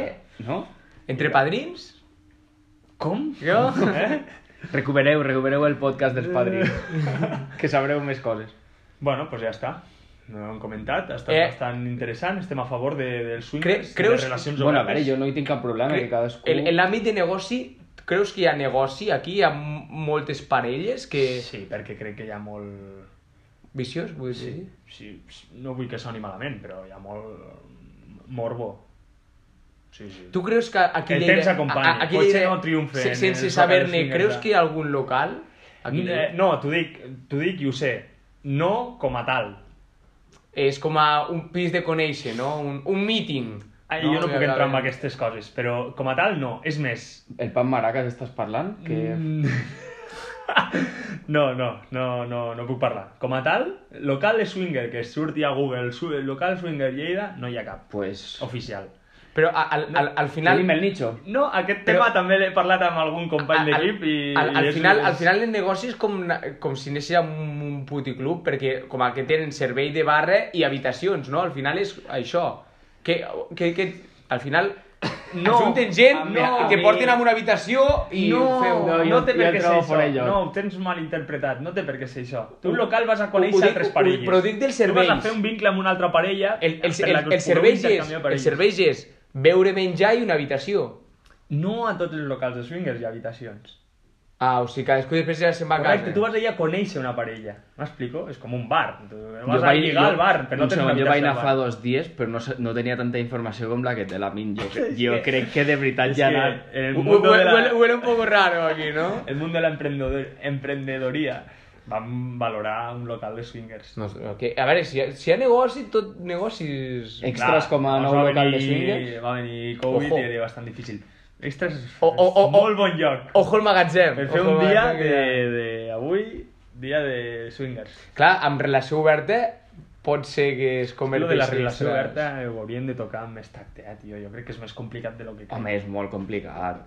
Speaker 2: No?
Speaker 3: Entre padrins?
Speaker 2: Com?
Speaker 3: Jo?
Speaker 4: Eh?
Speaker 2: Recupereu, recupereu el podcast dels padrins, que sabreu més coses.
Speaker 4: Bueno, pues ja està. No ho hem comentat, ha estat
Speaker 3: Eh.
Speaker 4: bastant interessant, estem a favor de, del swing,
Speaker 3: Cre- creus-
Speaker 4: de relacions
Speaker 2: Bueno, a
Speaker 4: obertes.
Speaker 2: veure, jo no hi tinc cap problema, que cadascú...
Speaker 3: En, en l'àmbit de negoci, creus que hi ha negoci aquí? Hi ha m- moltes parelles que...
Speaker 4: Sí, perquè crec que hi ha molt...
Speaker 3: Viciós, vull dir. Sí.
Speaker 4: Sí, no vull que soni malament, però hi ha molt morbo. Sí, sí.
Speaker 3: Tu creus que aquí
Speaker 4: El temps acompanya.
Speaker 3: a- a- aquí
Speaker 4: Potser
Speaker 3: Lleida-
Speaker 4: no triomfa
Speaker 3: se-
Speaker 4: en
Speaker 3: sense
Speaker 4: els
Speaker 3: saber-ne,
Speaker 4: locals
Speaker 3: creus
Speaker 4: singles,
Speaker 3: que hi ha algun local? Aquí
Speaker 4: Eh,
Speaker 3: Lleida?
Speaker 4: no, t'ho dic, t'ho dic i ho sé. No com a tal.
Speaker 3: És com a un pis de conèixer, no? Un, un míting.
Speaker 4: Ai, jo no
Speaker 3: Que
Speaker 4: puc entrar en
Speaker 3: acaben-
Speaker 4: aquestes coses, però com a tal no. És més,
Speaker 2: El pan maracas estàs parlant? Que...
Speaker 4: Mm. no, no, no, no, no puc parlar. Com a tal, local de swinger que surti a Google, su- local swinger Lleida, no hi ha cap
Speaker 2: Pues...
Speaker 4: oficial.
Speaker 3: Però a- al, al, al final...
Speaker 2: Tenim el nicho.
Speaker 4: No, aquest
Speaker 3: Però-
Speaker 4: tema també l'he parlat amb algun company
Speaker 3: Al-
Speaker 4: d'equip i...
Speaker 3: Al, al,
Speaker 4: i és-
Speaker 3: final,
Speaker 4: és-
Speaker 3: al final el negoci és com, na- com si anessis a un, un puticlub, perquè com a que tenen servei de barra i habitacions, no? Al final és això. Que, que, que al final no, ajunten gent
Speaker 2: a mi-
Speaker 3: no,
Speaker 2: a
Speaker 3: que
Speaker 2: mi-
Speaker 3: porten a una habitació i
Speaker 4: No,
Speaker 3: feu...
Speaker 4: no,
Speaker 2: jo-
Speaker 4: no té
Speaker 2: jo
Speaker 4: per què ser
Speaker 2: trobo
Speaker 4: això.
Speaker 2: fora de lloc.
Speaker 4: No, ho tens mal interpretat. No té per què ser això. Tu un
Speaker 3: Ho-
Speaker 4: local vas
Speaker 3: ho
Speaker 4: a conèixer
Speaker 3: dic- ho-
Speaker 4: altres parelles.
Speaker 3: però ho dic dels
Speaker 4: Tu vas
Speaker 3: serveis.
Speaker 4: a fer un vincle amb una altra parella...
Speaker 3: El, el,
Speaker 4: per
Speaker 3: el,
Speaker 4: la que us
Speaker 3: el,
Speaker 4: pugueu
Speaker 3: servei és,
Speaker 4: intercanviar
Speaker 3: el
Speaker 4: parelles.
Speaker 3: servei és beure, menjar i una habitació.
Speaker 4: No a tots els locals de swingers hi ha habitacions.
Speaker 3: Ah, o sigui, cadascú després ja se'n va a casa.
Speaker 4: Correcte, tu vas allà a conèixer una parella. M'explico? És com un bar. Tu vas
Speaker 2: Jo
Speaker 4: a
Speaker 2: vaig-
Speaker 4: lligar
Speaker 2: jo-
Speaker 4: al bar, però no
Speaker 2: un
Speaker 4: tens
Speaker 2: segon,
Speaker 4: una
Speaker 2: Jo vaig
Speaker 4: habitació
Speaker 2: anar
Speaker 4: al
Speaker 2: fa
Speaker 4: bar.
Speaker 2: dos dies, però no, sé- no tenia tanta informació com la que té la Min. Jo, cre- jo crec que de veritat
Speaker 4: És
Speaker 2: ja ha
Speaker 4: que
Speaker 2: anat...
Speaker 4: el
Speaker 3: Hue-
Speaker 4: mundo de
Speaker 3: hue- Huele,
Speaker 4: la,
Speaker 3: huele un poco raro aquí, no?
Speaker 4: el mundo de la emprendedor- emprendedoria vam valorar un local de swingers.
Speaker 3: no que, a veure, si hi ha, si hi ha negoci, tot negocis...
Speaker 2: Extras com a
Speaker 4: us
Speaker 2: nou
Speaker 4: va
Speaker 2: local de
Speaker 4: venir-
Speaker 2: swingers?
Speaker 4: Va venir Covid
Speaker 3: Ojo.
Speaker 4: i era bastant difícil. Extras és
Speaker 3: O- o- o-
Speaker 4: molt bon lloc.
Speaker 3: Ojo al magatzem.
Speaker 4: Per fer
Speaker 3: ojo
Speaker 4: un
Speaker 3: al
Speaker 4: dia
Speaker 3: magatzem,
Speaker 4: de,
Speaker 3: que-
Speaker 4: de avui, dia de swingers.
Speaker 3: Clar, amb relació oberta pot ser que es
Speaker 4: Lo de
Speaker 3: converteixi...
Speaker 4: la relació
Speaker 3: en-
Speaker 4: oberta eh, ho hauríem de tocar amb més tacte, eh, tio. Jo crec que és més complicat de lo que crec.
Speaker 2: Home, és molt complicat.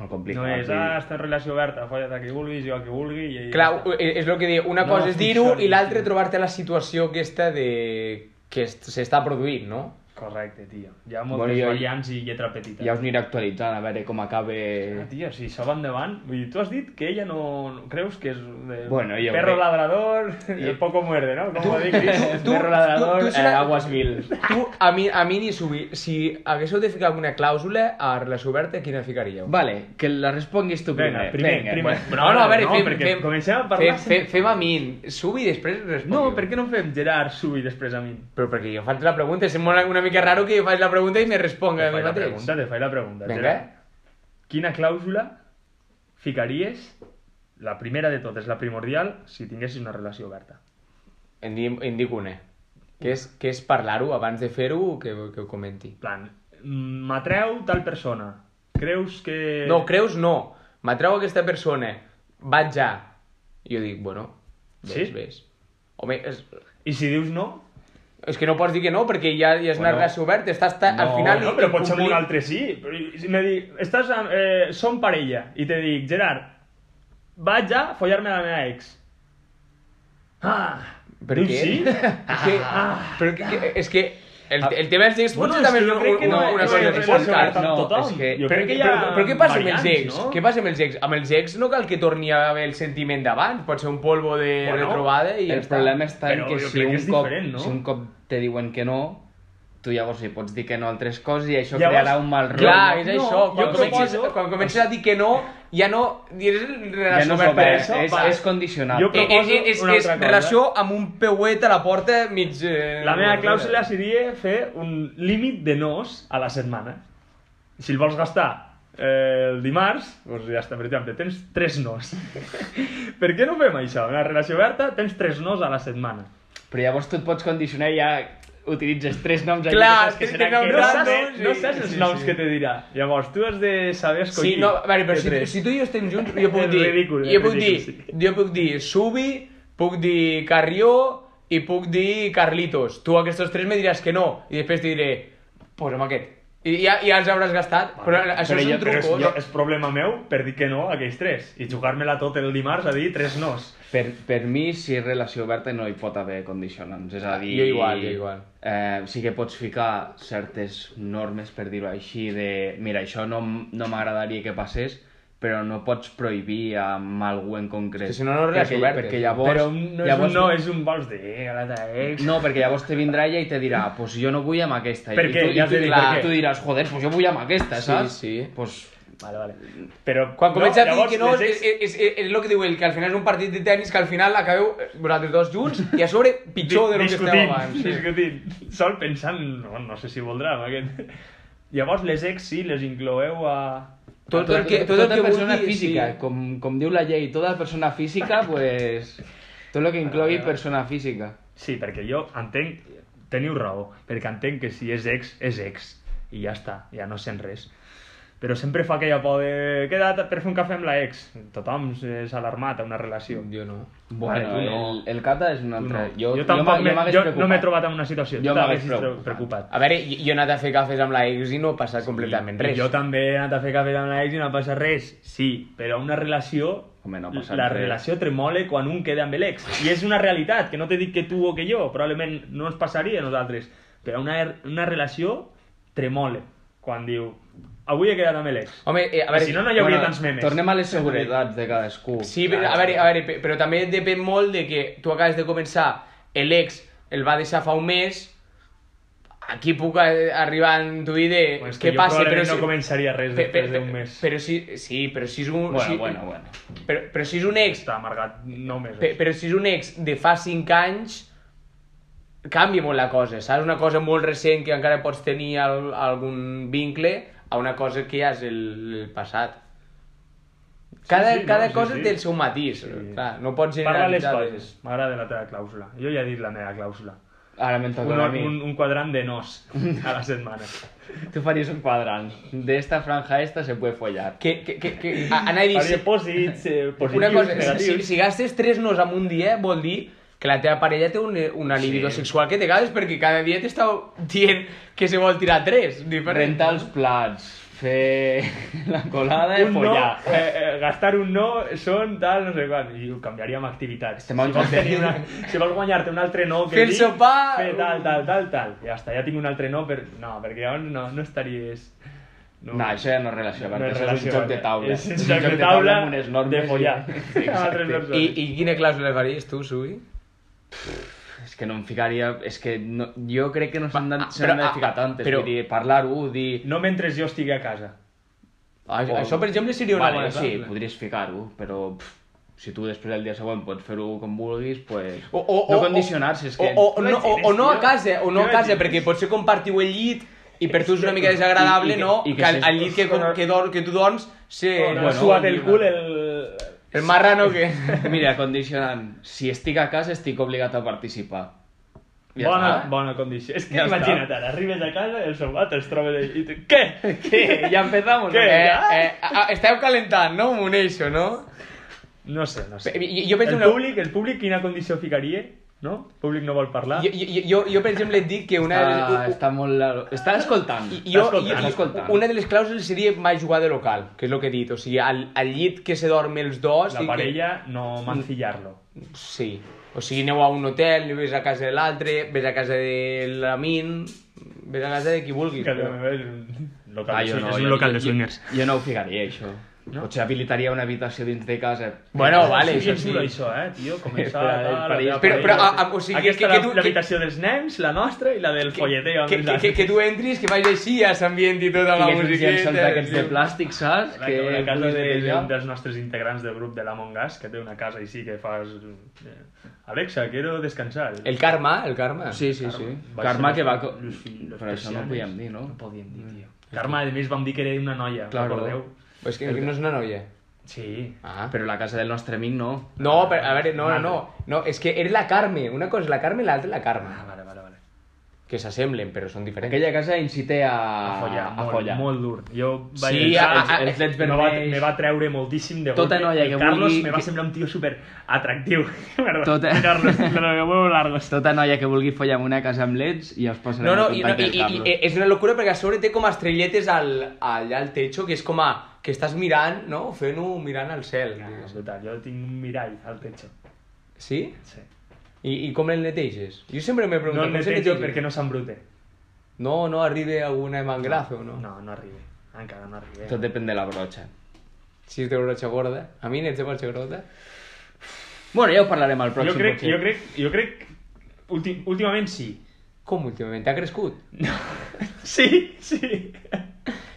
Speaker 2: Molt complicat.
Speaker 4: No és,
Speaker 2: vull dir.
Speaker 4: ah, està en relació oberta, folla't a qui vulguis, jo a qui vulgui... I
Speaker 3: Clar, eh,
Speaker 4: ja està.
Speaker 3: és el que dic, una
Speaker 4: No
Speaker 3: cosa és dir-ho
Speaker 4: funciona,
Speaker 3: i l'altra
Speaker 4: sí.
Speaker 3: trobar-te la situació aquesta de... que est- s'està produint, no?
Speaker 4: Correcte, tio. Hi ha moltes
Speaker 2: Bueno, jo-
Speaker 4: variants i lletra petita.
Speaker 2: Ja us aniré actualitzant, a veure com acabe...
Speaker 4: Ah, tio, si això va endavant... Vull dir, tu has dit que ella no... no- Creus que és de...
Speaker 2: Bueno, jo
Speaker 4: Perro
Speaker 2: crec-
Speaker 4: labrador, el poco muerde, no? Com ho dic, Cris?
Speaker 3: tu-
Speaker 2: Perro ladrador,
Speaker 4: pues
Speaker 3: tu- tu serà-
Speaker 2: eh, aguas mil.
Speaker 3: Tu, a mi, a mi ni subir... Si haguéssiu de ficar alguna clàusula a relació oberta, quina ficaríeu?
Speaker 2: Vale, que la responguis tu primer.
Speaker 4: Vinga, Eh, primer,
Speaker 2: Vinga,
Speaker 4: primer.
Speaker 2: bueno.
Speaker 3: No, no, a veure,
Speaker 4: No,
Speaker 3: fem,
Speaker 4: perquè
Speaker 3: fem,
Speaker 4: comencem a parlar
Speaker 3: fem,
Speaker 4: sempre.
Speaker 3: fem, fem a mi, subi i després respongui.
Speaker 4: No, per què no fem Gerard Subi després a mi?
Speaker 3: Però perquè jo faig la pregunta, sembla una mica raro que jo faig la pregunta i me responga
Speaker 4: Te
Speaker 3: a mi
Speaker 4: faig la
Speaker 3: mateix.
Speaker 4: pregunta, te faig la pregunta.
Speaker 3: Vinga.
Speaker 4: Gerard. Quina clàusula ficaries, la primera de totes, la primordial, si tinguessis una relació oberta?
Speaker 3: En, di- en dic una. Que és, que és parlar-ho abans de fer-ho que, que ho comenti.
Speaker 4: En plan, mm, m'atreu tal persona. Creus que...
Speaker 3: No, creus no. M'atrau aquesta persona. Vaig ja. I jo dic, bueno, ves,
Speaker 4: Sí?
Speaker 3: ves. Home, és,
Speaker 4: I si dius no?
Speaker 3: és que no pots dir que no, perquè ja, ja és una
Speaker 2: Bueno.
Speaker 3: relació oberta. Estàs ta, al final...
Speaker 4: no, però pot ser amb
Speaker 3: incomplint-
Speaker 4: un altre sí. Però i Si me dic, estàs amb, eh, som parella, i te dic, Gerard, vaig a follar-me la meva ex. Ah,
Speaker 3: Per
Speaker 4: dius
Speaker 3: què?
Speaker 4: sí?
Speaker 3: És
Speaker 4: Ah.
Speaker 3: que, però Ah, que, que, és que el, el tema dels ex
Speaker 4: Bueno,
Speaker 3: potser
Speaker 4: és
Speaker 3: també
Speaker 4: que
Speaker 3: és
Speaker 4: jo
Speaker 3: un-
Speaker 4: crec que
Speaker 3: una,
Speaker 4: no
Speaker 3: una
Speaker 4: és
Speaker 3: cosa
Speaker 4: una
Speaker 3: del
Speaker 4: relació
Speaker 3: podcast.
Speaker 4: oberta.
Speaker 2: No,
Speaker 4: tothom.
Speaker 2: és que...
Speaker 4: Jo
Speaker 3: Però,
Speaker 4: crec que hi
Speaker 3: però,
Speaker 4: ha
Speaker 3: però què passa amb els
Speaker 4: variants,
Speaker 3: ex?
Speaker 4: no?
Speaker 3: Què passa amb els ex? Amb els ex no cal que torni a haver el sentiment d'abans, pot ser un polvo de
Speaker 4: Bueno,
Speaker 3: retrobada i ja
Speaker 2: El
Speaker 3: està.
Speaker 2: problema està en
Speaker 4: Però
Speaker 2: que
Speaker 4: jo
Speaker 2: si
Speaker 4: crec que
Speaker 2: un,
Speaker 4: és
Speaker 2: cop,
Speaker 4: diferent, no?
Speaker 2: si un cop te diuen que no, tu llavors li pots dir que no a altres coses i això
Speaker 4: Llavors-
Speaker 2: crearà un mal rotllo.
Speaker 3: Clar, és
Speaker 4: No,
Speaker 3: això, quan,
Speaker 4: jo
Speaker 3: comences,
Speaker 4: proposo-
Speaker 3: quan comences a dir que no, ja no diràs
Speaker 2: Ja
Speaker 3: relació
Speaker 2: no és
Speaker 3: oberta.
Speaker 2: obert,
Speaker 4: això,
Speaker 2: és,
Speaker 4: va.
Speaker 2: és condicionat.
Speaker 4: Jo
Speaker 3: Eh,
Speaker 4: proposo
Speaker 3: eh, és,
Speaker 4: una
Speaker 3: és
Speaker 4: altra cosa.
Speaker 3: relació amb un peuet a la porta mig... Eh,
Speaker 4: La meva
Speaker 3: oberta.
Speaker 4: clàusula seria fer un límit de nos a la setmana. Si el vols gastar eh, el dimarts, doncs ja està, per exemple, tens tres nos. per què no fem això? En la relació oberta tens tres nos a la setmana.
Speaker 2: Però llavors tu et pots condicionar i ja utilitzes tres noms allí que
Speaker 3: Clar,
Speaker 2: saps que
Speaker 3: sí,
Speaker 2: seran
Speaker 3: que no,
Speaker 2: que
Speaker 4: No
Speaker 3: Clar,
Speaker 4: saps,
Speaker 3: no, sí,
Speaker 4: no saps els
Speaker 3: sí,
Speaker 4: noms
Speaker 3: sí.
Speaker 4: que te dirà. Llavors, tu has de saber escollir.
Speaker 3: Sí, no, a veure, però
Speaker 4: de
Speaker 3: si,
Speaker 4: tres.
Speaker 3: si tu i jo estem junts, jo puc
Speaker 4: És
Speaker 3: dir...
Speaker 4: ridícul,
Speaker 3: jo,
Speaker 4: és
Speaker 3: puc dir
Speaker 4: ridícul,
Speaker 3: jo puc dir Subi, puc dir Carrió i puc dir Carlitos. Tu aquests tres me diràs que no, i després t'hi diré, posa'm aquest. I ja, ja els hauràs gastat, però això
Speaker 4: però
Speaker 3: és
Speaker 4: jo-
Speaker 3: un
Speaker 4: però és,
Speaker 3: truco.
Speaker 4: jo, és problema meu per dir que no a aquells tres i jugar-me-la tot el dimarts a dir tres nos.
Speaker 2: Per, per mi, si és relació oberta, no hi pot haver condicionants. És a dir...
Speaker 3: Ah, Jo igual, jo igual.
Speaker 2: Eh, sí que pots ficar certes normes, per dir-ho així, de... Mira, això no, m- no m'agradaria que passés, però no pots prohibir a algú en concret.
Speaker 3: És que si no, no és relació
Speaker 2: perquè,
Speaker 3: oberta.
Speaker 2: Perquè llavors...
Speaker 4: però no
Speaker 2: llavors,
Speaker 4: és un no, és un vols dir, eh, a la teva ex...
Speaker 2: No, perquè llavors te vindrà ella i te dirà, pues jo no vull amb aquesta.
Speaker 4: Per
Speaker 2: I
Speaker 4: què?
Speaker 2: tu, i
Speaker 4: Ja
Speaker 2: tu,
Speaker 4: t'he dit
Speaker 2: clar,
Speaker 4: per què.
Speaker 2: tu diràs, joder, pues jo vull amb aquesta,
Speaker 3: Sí,
Speaker 2: saps?
Speaker 3: sí.
Speaker 2: Pues,
Speaker 4: Vale, vale. Però
Speaker 3: Quan comença a dir
Speaker 4: llavors
Speaker 3: que no, eh,
Speaker 4: les
Speaker 3: és,
Speaker 4: ex-
Speaker 3: és, és, és el que diu ell, que al final és un partit de tennis que al final acabeu eh, vosaltres dos junts i a sobre pitjor de lo que esteu
Speaker 4: discutint,
Speaker 3: abans. Sí.
Speaker 4: Discutint, sol pensant, no, no sé si voldrà amb aquest... Llavors les ex sí, les incloeu a...
Speaker 3: Tot el que, tot el
Speaker 2: tota
Speaker 3: que
Speaker 2: persona
Speaker 3: vulgui,
Speaker 2: física,
Speaker 3: sí.
Speaker 2: com, com diu la llei, tota persona física, pues... Tot el que inclogui persona física.
Speaker 4: Sí, perquè jo entenc, teniu raó, perquè entenc que si és ex, és ex, i ja està, ja no sent res. Però sempre fa aquella por de... Queda per fer un cafè amb la ex. Tothom s'ha alarmat a una relació.
Speaker 3: Jo no.
Speaker 2: Bueno,
Speaker 4: tu no.
Speaker 2: el, el Cata és un
Speaker 4: Tu
Speaker 2: altre...
Speaker 4: no.
Speaker 2: Jo,
Speaker 4: jo tampoc
Speaker 2: m'ha-
Speaker 4: m'he-
Speaker 2: m'hagués
Speaker 4: jo no
Speaker 2: preocupat.
Speaker 4: m'he trobat en una situació.
Speaker 2: Jo
Speaker 4: tu
Speaker 2: m'hagués
Speaker 4: t'haguessis tro-
Speaker 2: preocupat.
Speaker 4: preocupat.
Speaker 3: A veure, jo jo he anat a fer cafès amb la ex i no ha passat completament res.
Speaker 4: Jo també he anat a fer cafè amb la ex i no em passa res. Sí, però una relació...
Speaker 2: Home, no ha passat
Speaker 4: la
Speaker 2: res.
Speaker 4: relació tremole quan un queda amb l'ex. I és una realitat, que no t'he dit que tu o que jo, probablement no ens passaria a nosaltres. Però una, una relació tremole quan diu avui he quedat amb l'ex.
Speaker 3: Home, eh, a veure...
Speaker 4: Si no, no hi hauria tants memes.
Speaker 2: Tornem a les seguretats de cadascú.
Speaker 3: Sí, però, a veure, a veure, pe- però també depèn molt de que tu acabes de començar, l'ex el va deixar fa un mes, aquí puc eh, arribar a intuir de
Speaker 4: Pues que
Speaker 3: què
Speaker 4: jo
Speaker 3: passa, però
Speaker 4: probablement no començaria res després d'un mes.
Speaker 3: Però si, sí, però si és un...
Speaker 2: Bueno,
Speaker 3: si,
Speaker 2: bueno, bueno.
Speaker 3: Però, però si és un ex...
Speaker 4: Està amargat 9 mesos.
Speaker 3: Pe, però si és un ex de fa 5 anys, canvia molt la cosa, saps? Una cosa molt recent que encara pots tenir al, algun vincle a una cosa que ja és el, el passat. Cada,
Speaker 4: sí, no,
Speaker 3: cada
Speaker 4: sí,
Speaker 3: cosa
Speaker 4: sí.
Speaker 3: té el seu matís, clar, no pots
Speaker 4: Parla les
Speaker 3: generalitzar.
Speaker 4: coses. M'agrada la teva clàusula. Jo ja he dit la meva clàusula.
Speaker 2: Ara me'n
Speaker 4: Un,
Speaker 2: toca a mi.
Speaker 4: un, un quadrant de nos a la setmana.
Speaker 2: Tu faries un quadrant. De esta franja a esta se puede follar.
Speaker 3: Que, que, que, que, a, anar a dir,
Speaker 4: Faria
Speaker 3: si,
Speaker 4: pòsits, eh, positius,
Speaker 3: una cosa, si,
Speaker 4: negatius.
Speaker 3: si gastes 3 nos en un dia, vol dir que la teva parella té un, una libido sexual que te cagues perquè cada dia t'està dient que se vol tirar 3.
Speaker 2: Rentar els plats, fer la colada i
Speaker 4: un no,
Speaker 2: follar.
Speaker 4: eh, eh, gastar un no són tal, no sé quan, i ho canviaríem activitats.
Speaker 2: Estem a un
Speaker 4: si, vols
Speaker 2: joc de
Speaker 4: tenir una, si vols guanyar-te un altre no que
Speaker 3: Fer el
Speaker 4: dic,
Speaker 3: sopar.
Speaker 4: fer tal, tal, tal, tal. Ja està, ja tinc un altre no, per... no perquè llavors no, no estaries...
Speaker 2: No, això ja no és relació, perquè
Speaker 4: és
Speaker 2: això és un joc de taula.
Speaker 4: És un joc de taula
Speaker 2: amb unes normes.
Speaker 4: de
Speaker 2: i-
Speaker 4: follar. Amb
Speaker 2: Exacte.
Speaker 4: altres
Speaker 3: I,
Speaker 4: persones.
Speaker 3: I quina clàusula faries tu, Subi?
Speaker 2: És que no em ficaria... És que no, jo crec que no s'han de,
Speaker 3: ah,
Speaker 2: se n'han
Speaker 3: però,
Speaker 2: de ficar
Speaker 3: ah,
Speaker 2: tantes.
Speaker 3: però-
Speaker 2: Vull dir, parlar-ho, dir...
Speaker 4: No mentre jo estigui a casa.
Speaker 3: Això, això per exemple, seria una
Speaker 2: Vale,
Speaker 3: bona
Speaker 2: sí,
Speaker 3: clàusula.
Speaker 2: podries ficar-ho, però... Pff, si tu després del dia següent pots fer-ho com vulguis, pues...
Speaker 3: O, o, o,
Speaker 2: no condicionar-se, és que...
Speaker 3: O, o, no, o, o no a
Speaker 4: tio.
Speaker 3: casa, o no a
Speaker 4: Què
Speaker 3: casa,
Speaker 4: vaig dir?
Speaker 3: perquè potser compartiu el llit i per tu és una mica desagradable,
Speaker 2: I- i-
Speaker 3: no?
Speaker 2: i que
Speaker 3: que el,
Speaker 2: si-
Speaker 3: el llit que, com- que, dor, que tu dorms se...
Speaker 2: Eh,
Speaker 4: No, no, suat el cul eh. el...
Speaker 3: El marrano que...
Speaker 2: Mira, condicionant. Si estic a casa, estic obligat a participar. Ja
Speaker 4: bona,
Speaker 2: està.
Speaker 4: bona condició. És que
Speaker 2: Ja
Speaker 4: imagina't
Speaker 2: està.
Speaker 4: ara, arribes a casa i el sopar te'ls trobes allà i tu... Què?
Speaker 2: Eh, ja empezamos.
Speaker 4: Què?
Speaker 2: Eh?
Speaker 3: Eh,
Speaker 4: Ja?
Speaker 3: eh, a- esteu calentant, no? M'uneixo, no?
Speaker 4: No sé, no sé.
Speaker 3: Bé, jo- jo penso
Speaker 4: el,
Speaker 3: una-
Speaker 4: públic, el públic quina condició ficaria? No? El públic no vol parlar?
Speaker 3: Jo, jo, jo, jo, per exemple, et dic que una...
Speaker 2: Està, està molt... la- Està escoltant.
Speaker 3: I- Jo,
Speaker 4: Estàs
Speaker 3: jo,
Speaker 4: escoltant,
Speaker 2: escoltant.
Speaker 3: una de les clàusules seria mai jugar de local, que és el que he dit. O sigui, al, al llit que se dorm els dos... i
Speaker 4: La
Speaker 3: que-
Speaker 4: parella no mancillar-lo.
Speaker 3: Sí. O sigui, aneu a un hotel, ves a casa de l'altre, ves a casa de l'Amin, ves a casa de qui vulguis.
Speaker 4: Que
Speaker 3: Però...
Speaker 4: és un
Speaker 2: Ah,
Speaker 4: local, de
Speaker 2: jo
Speaker 4: swing-
Speaker 2: no,
Speaker 4: és
Speaker 2: jo-
Speaker 4: un local de
Speaker 2: jo-
Speaker 4: swingers.
Speaker 2: Jo, jo no ho ficaria, això. No? Potser habilitaria una habitació dins de casa.
Speaker 3: Bueno, vale,
Speaker 4: sí,
Speaker 3: això
Speaker 4: és
Speaker 3: sí.
Speaker 4: duro, això, eh, tio? Començar
Speaker 2: Espera,
Speaker 4: a
Speaker 2: el
Speaker 4: la
Speaker 2: parell-
Speaker 4: teva
Speaker 3: Però- però,
Speaker 4: parella.
Speaker 3: a- a- o sigui,
Speaker 4: Aquesta
Speaker 3: que- que
Speaker 4: la-
Speaker 3: tu-
Speaker 4: l'habitació dels nens, la nostra i la del folleteo. amb
Speaker 3: Que,
Speaker 4: els
Speaker 3: que, que,
Speaker 4: altres.
Speaker 3: que tu entris, que vagi així, ja s'ambienti tota
Speaker 2: I
Speaker 3: la
Speaker 2: que
Speaker 3: musiqueta.
Speaker 2: sense els d'aquests de
Speaker 3: sí.
Speaker 2: plàstic, saps?
Speaker 4: Que una casa
Speaker 2: puguis
Speaker 4: de,
Speaker 2: netejar.
Speaker 4: d'un dels nostres integrants del grup de l'Among Us, que té una casa i sí que fas... eh, Alexa, quiero descansar.
Speaker 3: El karma, el karma.
Speaker 2: Sí, sí, sí.
Speaker 4: Va
Speaker 2: Karma
Speaker 4: ser
Speaker 2: que va...
Speaker 4: los-
Speaker 2: co-
Speaker 4: los- los
Speaker 2: Però això no ho
Speaker 4: persianes.
Speaker 2: podíem dir, no? Mm.
Speaker 4: No podíem dir, tio. Carme, a més, vam dir que era una noia,
Speaker 2: Claro.
Speaker 4: recordeu?
Speaker 3: Pues És que no és una noia.
Speaker 4: Sí.
Speaker 3: Ah.
Speaker 2: Però la casa del nostre amic no.
Speaker 3: No, però, a veure, no, no, no, no, és que era la Carme, una cosa és la Carme i l'altra la
Speaker 4: Ah,
Speaker 3: Carme,
Speaker 4: vale, vale, vale.
Speaker 3: que s'assemblen però són diferents.
Speaker 2: Aquella casa incité a...
Speaker 4: A follar,
Speaker 2: a
Speaker 4: molt,
Speaker 2: follar.
Speaker 4: molt dur. Jo vaig
Speaker 3: Sí,
Speaker 4: entrar,
Speaker 3: a-
Speaker 4: els-
Speaker 3: a-
Speaker 4: els leds
Speaker 2: a-
Speaker 4: me, va,
Speaker 2: vermells.
Speaker 4: me va treure moltíssim de
Speaker 2: Tota
Speaker 4: golpe.
Speaker 2: noia
Speaker 4: El
Speaker 2: que
Speaker 4: Carlos
Speaker 2: vulgui-
Speaker 4: me va
Speaker 2: que-
Speaker 4: semblar un tio super atractiu.
Speaker 2: Tota-
Speaker 4: Carlos, de los huevos largos.
Speaker 2: Tota noia que vulgui follar amb una casa amb leds ja us posarem
Speaker 3: No, no,
Speaker 2: en
Speaker 3: i, no
Speaker 2: contacte
Speaker 3: i,
Speaker 2: amb
Speaker 3: i, i,
Speaker 2: Carlos.
Speaker 3: eh, és una locura perquè a sobre té com estrelletes al, allà al techo, que és com a... que estàs mirant, no? Fent-ho mirant al cel.
Speaker 4: Ah,
Speaker 3: digues.
Speaker 4: brutal, jo tinc un mirall al techo.
Speaker 3: Sí?
Speaker 4: Sí.
Speaker 3: I, I com el neteges? Jo sempre m'he
Speaker 4: No
Speaker 3: preguntat
Speaker 4: el
Speaker 3: com se
Speaker 4: netejo
Speaker 3: neteja?
Speaker 4: perquè no s'embrute.
Speaker 3: No, no arriba alguna mangrazo, no?
Speaker 4: No, no arriba. Encara no arriba.
Speaker 2: Tot depèn de la broxa.
Speaker 3: Si es té broxa gorda. A mi n'ets de broxa gorda?
Speaker 2: Bueno, ja ho parlarem al
Speaker 4: jo
Speaker 2: pròxim,
Speaker 4: crec,
Speaker 2: potser.
Speaker 4: jo crec, jo crec, últim, últimament sí.
Speaker 3: Com últimament? T'ha crescut?
Speaker 4: Sí, sí.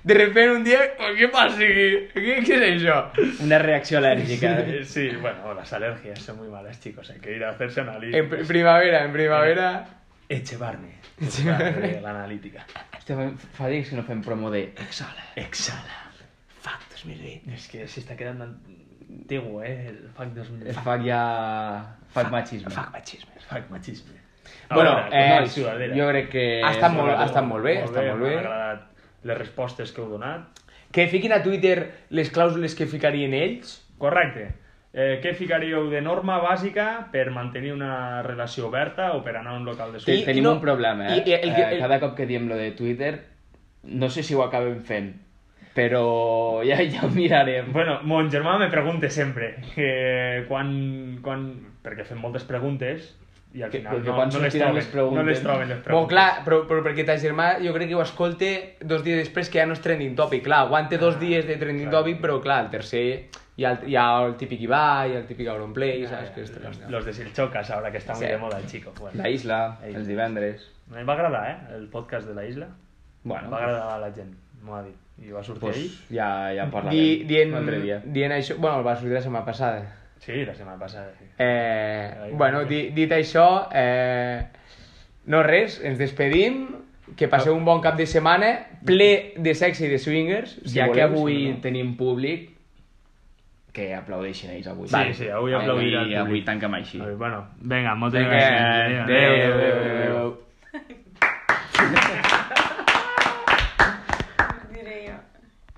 Speaker 3: De repente un dia... "Oh, Què passa aquí? Què, què és això?
Speaker 2: Una reacció al·lèrgica.
Speaker 4: Eh, Sí, bueno, las alergias son muy malas, chicos. Hay que ir a hacerse
Speaker 3: En pr-
Speaker 4: análisis.
Speaker 3: primavera, en primavera...
Speaker 4: Echevarne. Echevarne de la analítica.
Speaker 2: Hòstia, fa dies que no fem promo de...
Speaker 4: Exhala. Exhala.
Speaker 3: Fuck 2020.
Speaker 4: Es que se está quedando antiguo, ¿eh? El FAC 2000.
Speaker 2: Es fac ja... Fac machisme.
Speaker 3: Fuck machisme.
Speaker 4: El FAC machisme. Ah,
Speaker 3: Bueno, eh,
Speaker 4: nois, sudadera.
Speaker 2: Jo crec que...
Speaker 3: Ha estat molt-
Speaker 4: Sudadera.
Speaker 3: ha estat molt bé, ha estat molt bé.
Speaker 4: M'han agradat les respostes que heu donat.
Speaker 3: Que fiquin a Twitter les clàusules que ficarien ells.
Speaker 4: Correcte. Eh, què ficaríeu de norma bàsica per mantenir una relació oberta o per anar a un local de
Speaker 2: Te,
Speaker 4: suc?
Speaker 3: I-
Speaker 2: tenim
Speaker 3: i no-
Speaker 2: un problema, eh?
Speaker 3: i- i el que-
Speaker 2: Eh,
Speaker 3: el-
Speaker 2: Cada cop que diem lo de Twitter, no sé si ho acabem fent, però ja, ja ho mirarem.
Speaker 4: Bueno, mon germà me pregunta sempre que quan, quan... perquè fem moltes preguntes i al
Speaker 2: Que-
Speaker 4: final
Speaker 2: que
Speaker 4: no,
Speaker 2: quan
Speaker 4: no, les
Speaker 2: sortiran
Speaker 4: troben,
Speaker 2: les preguntes.
Speaker 4: no les troben les preguntes.
Speaker 3: Bon, clar, però, doncs- però perquè ta germà jo crec que ho escolte dos dies després que ja no és trending topic. Clar, aguante dos dies de trending
Speaker 4: clar.
Speaker 3: topic, però clar, el tercer hi ha el, hi ha el típic Ibai, el típic Auronplay, saps? Que és
Speaker 4: Los,
Speaker 3: trending.
Speaker 4: los de Silchocas, ahora que está muy
Speaker 3: Sí.
Speaker 4: de moda el chico. Bueno,
Speaker 2: La isla,
Speaker 4: Ahí.
Speaker 2: els divendres...
Speaker 4: Me va agradar, eh, el podcast de la isla.
Speaker 2: Bueno,
Speaker 4: va agradar a la gent, m'ho ha dit. I va sortir
Speaker 2: pues,
Speaker 4: ahir.
Speaker 2: ja, ja en parlarem
Speaker 3: Di, dient,
Speaker 2: un altre dia.
Speaker 3: dient això... Bueno, el va sortir la setmana passada.
Speaker 4: Sí, la setmana passada. Sí.
Speaker 3: Eh,
Speaker 4: Ai,
Speaker 3: bueno,
Speaker 4: molt bé.
Speaker 3: di, dit això, eh, no res, ens despedim, que passeu un bon cap de setmana, ple de sexe i de swingers, si
Speaker 2: ja
Speaker 3: voleu,
Speaker 2: que avui
Speaker 3: si no, no.
Speaker 2: tenim públic, que aplaudeixin ells avui.
Speaker 4: Sí, sí, avui aplaudirà el
Speaker 2: Avui
Speaker 4: públic.
Speaker 2: tanquem així.
Speaker 4: Bueno, vinga, moltes
Speaker 3: Vinga,
Speaker 4: gràcies.
Speaker 3: adéu, adéu, adéu.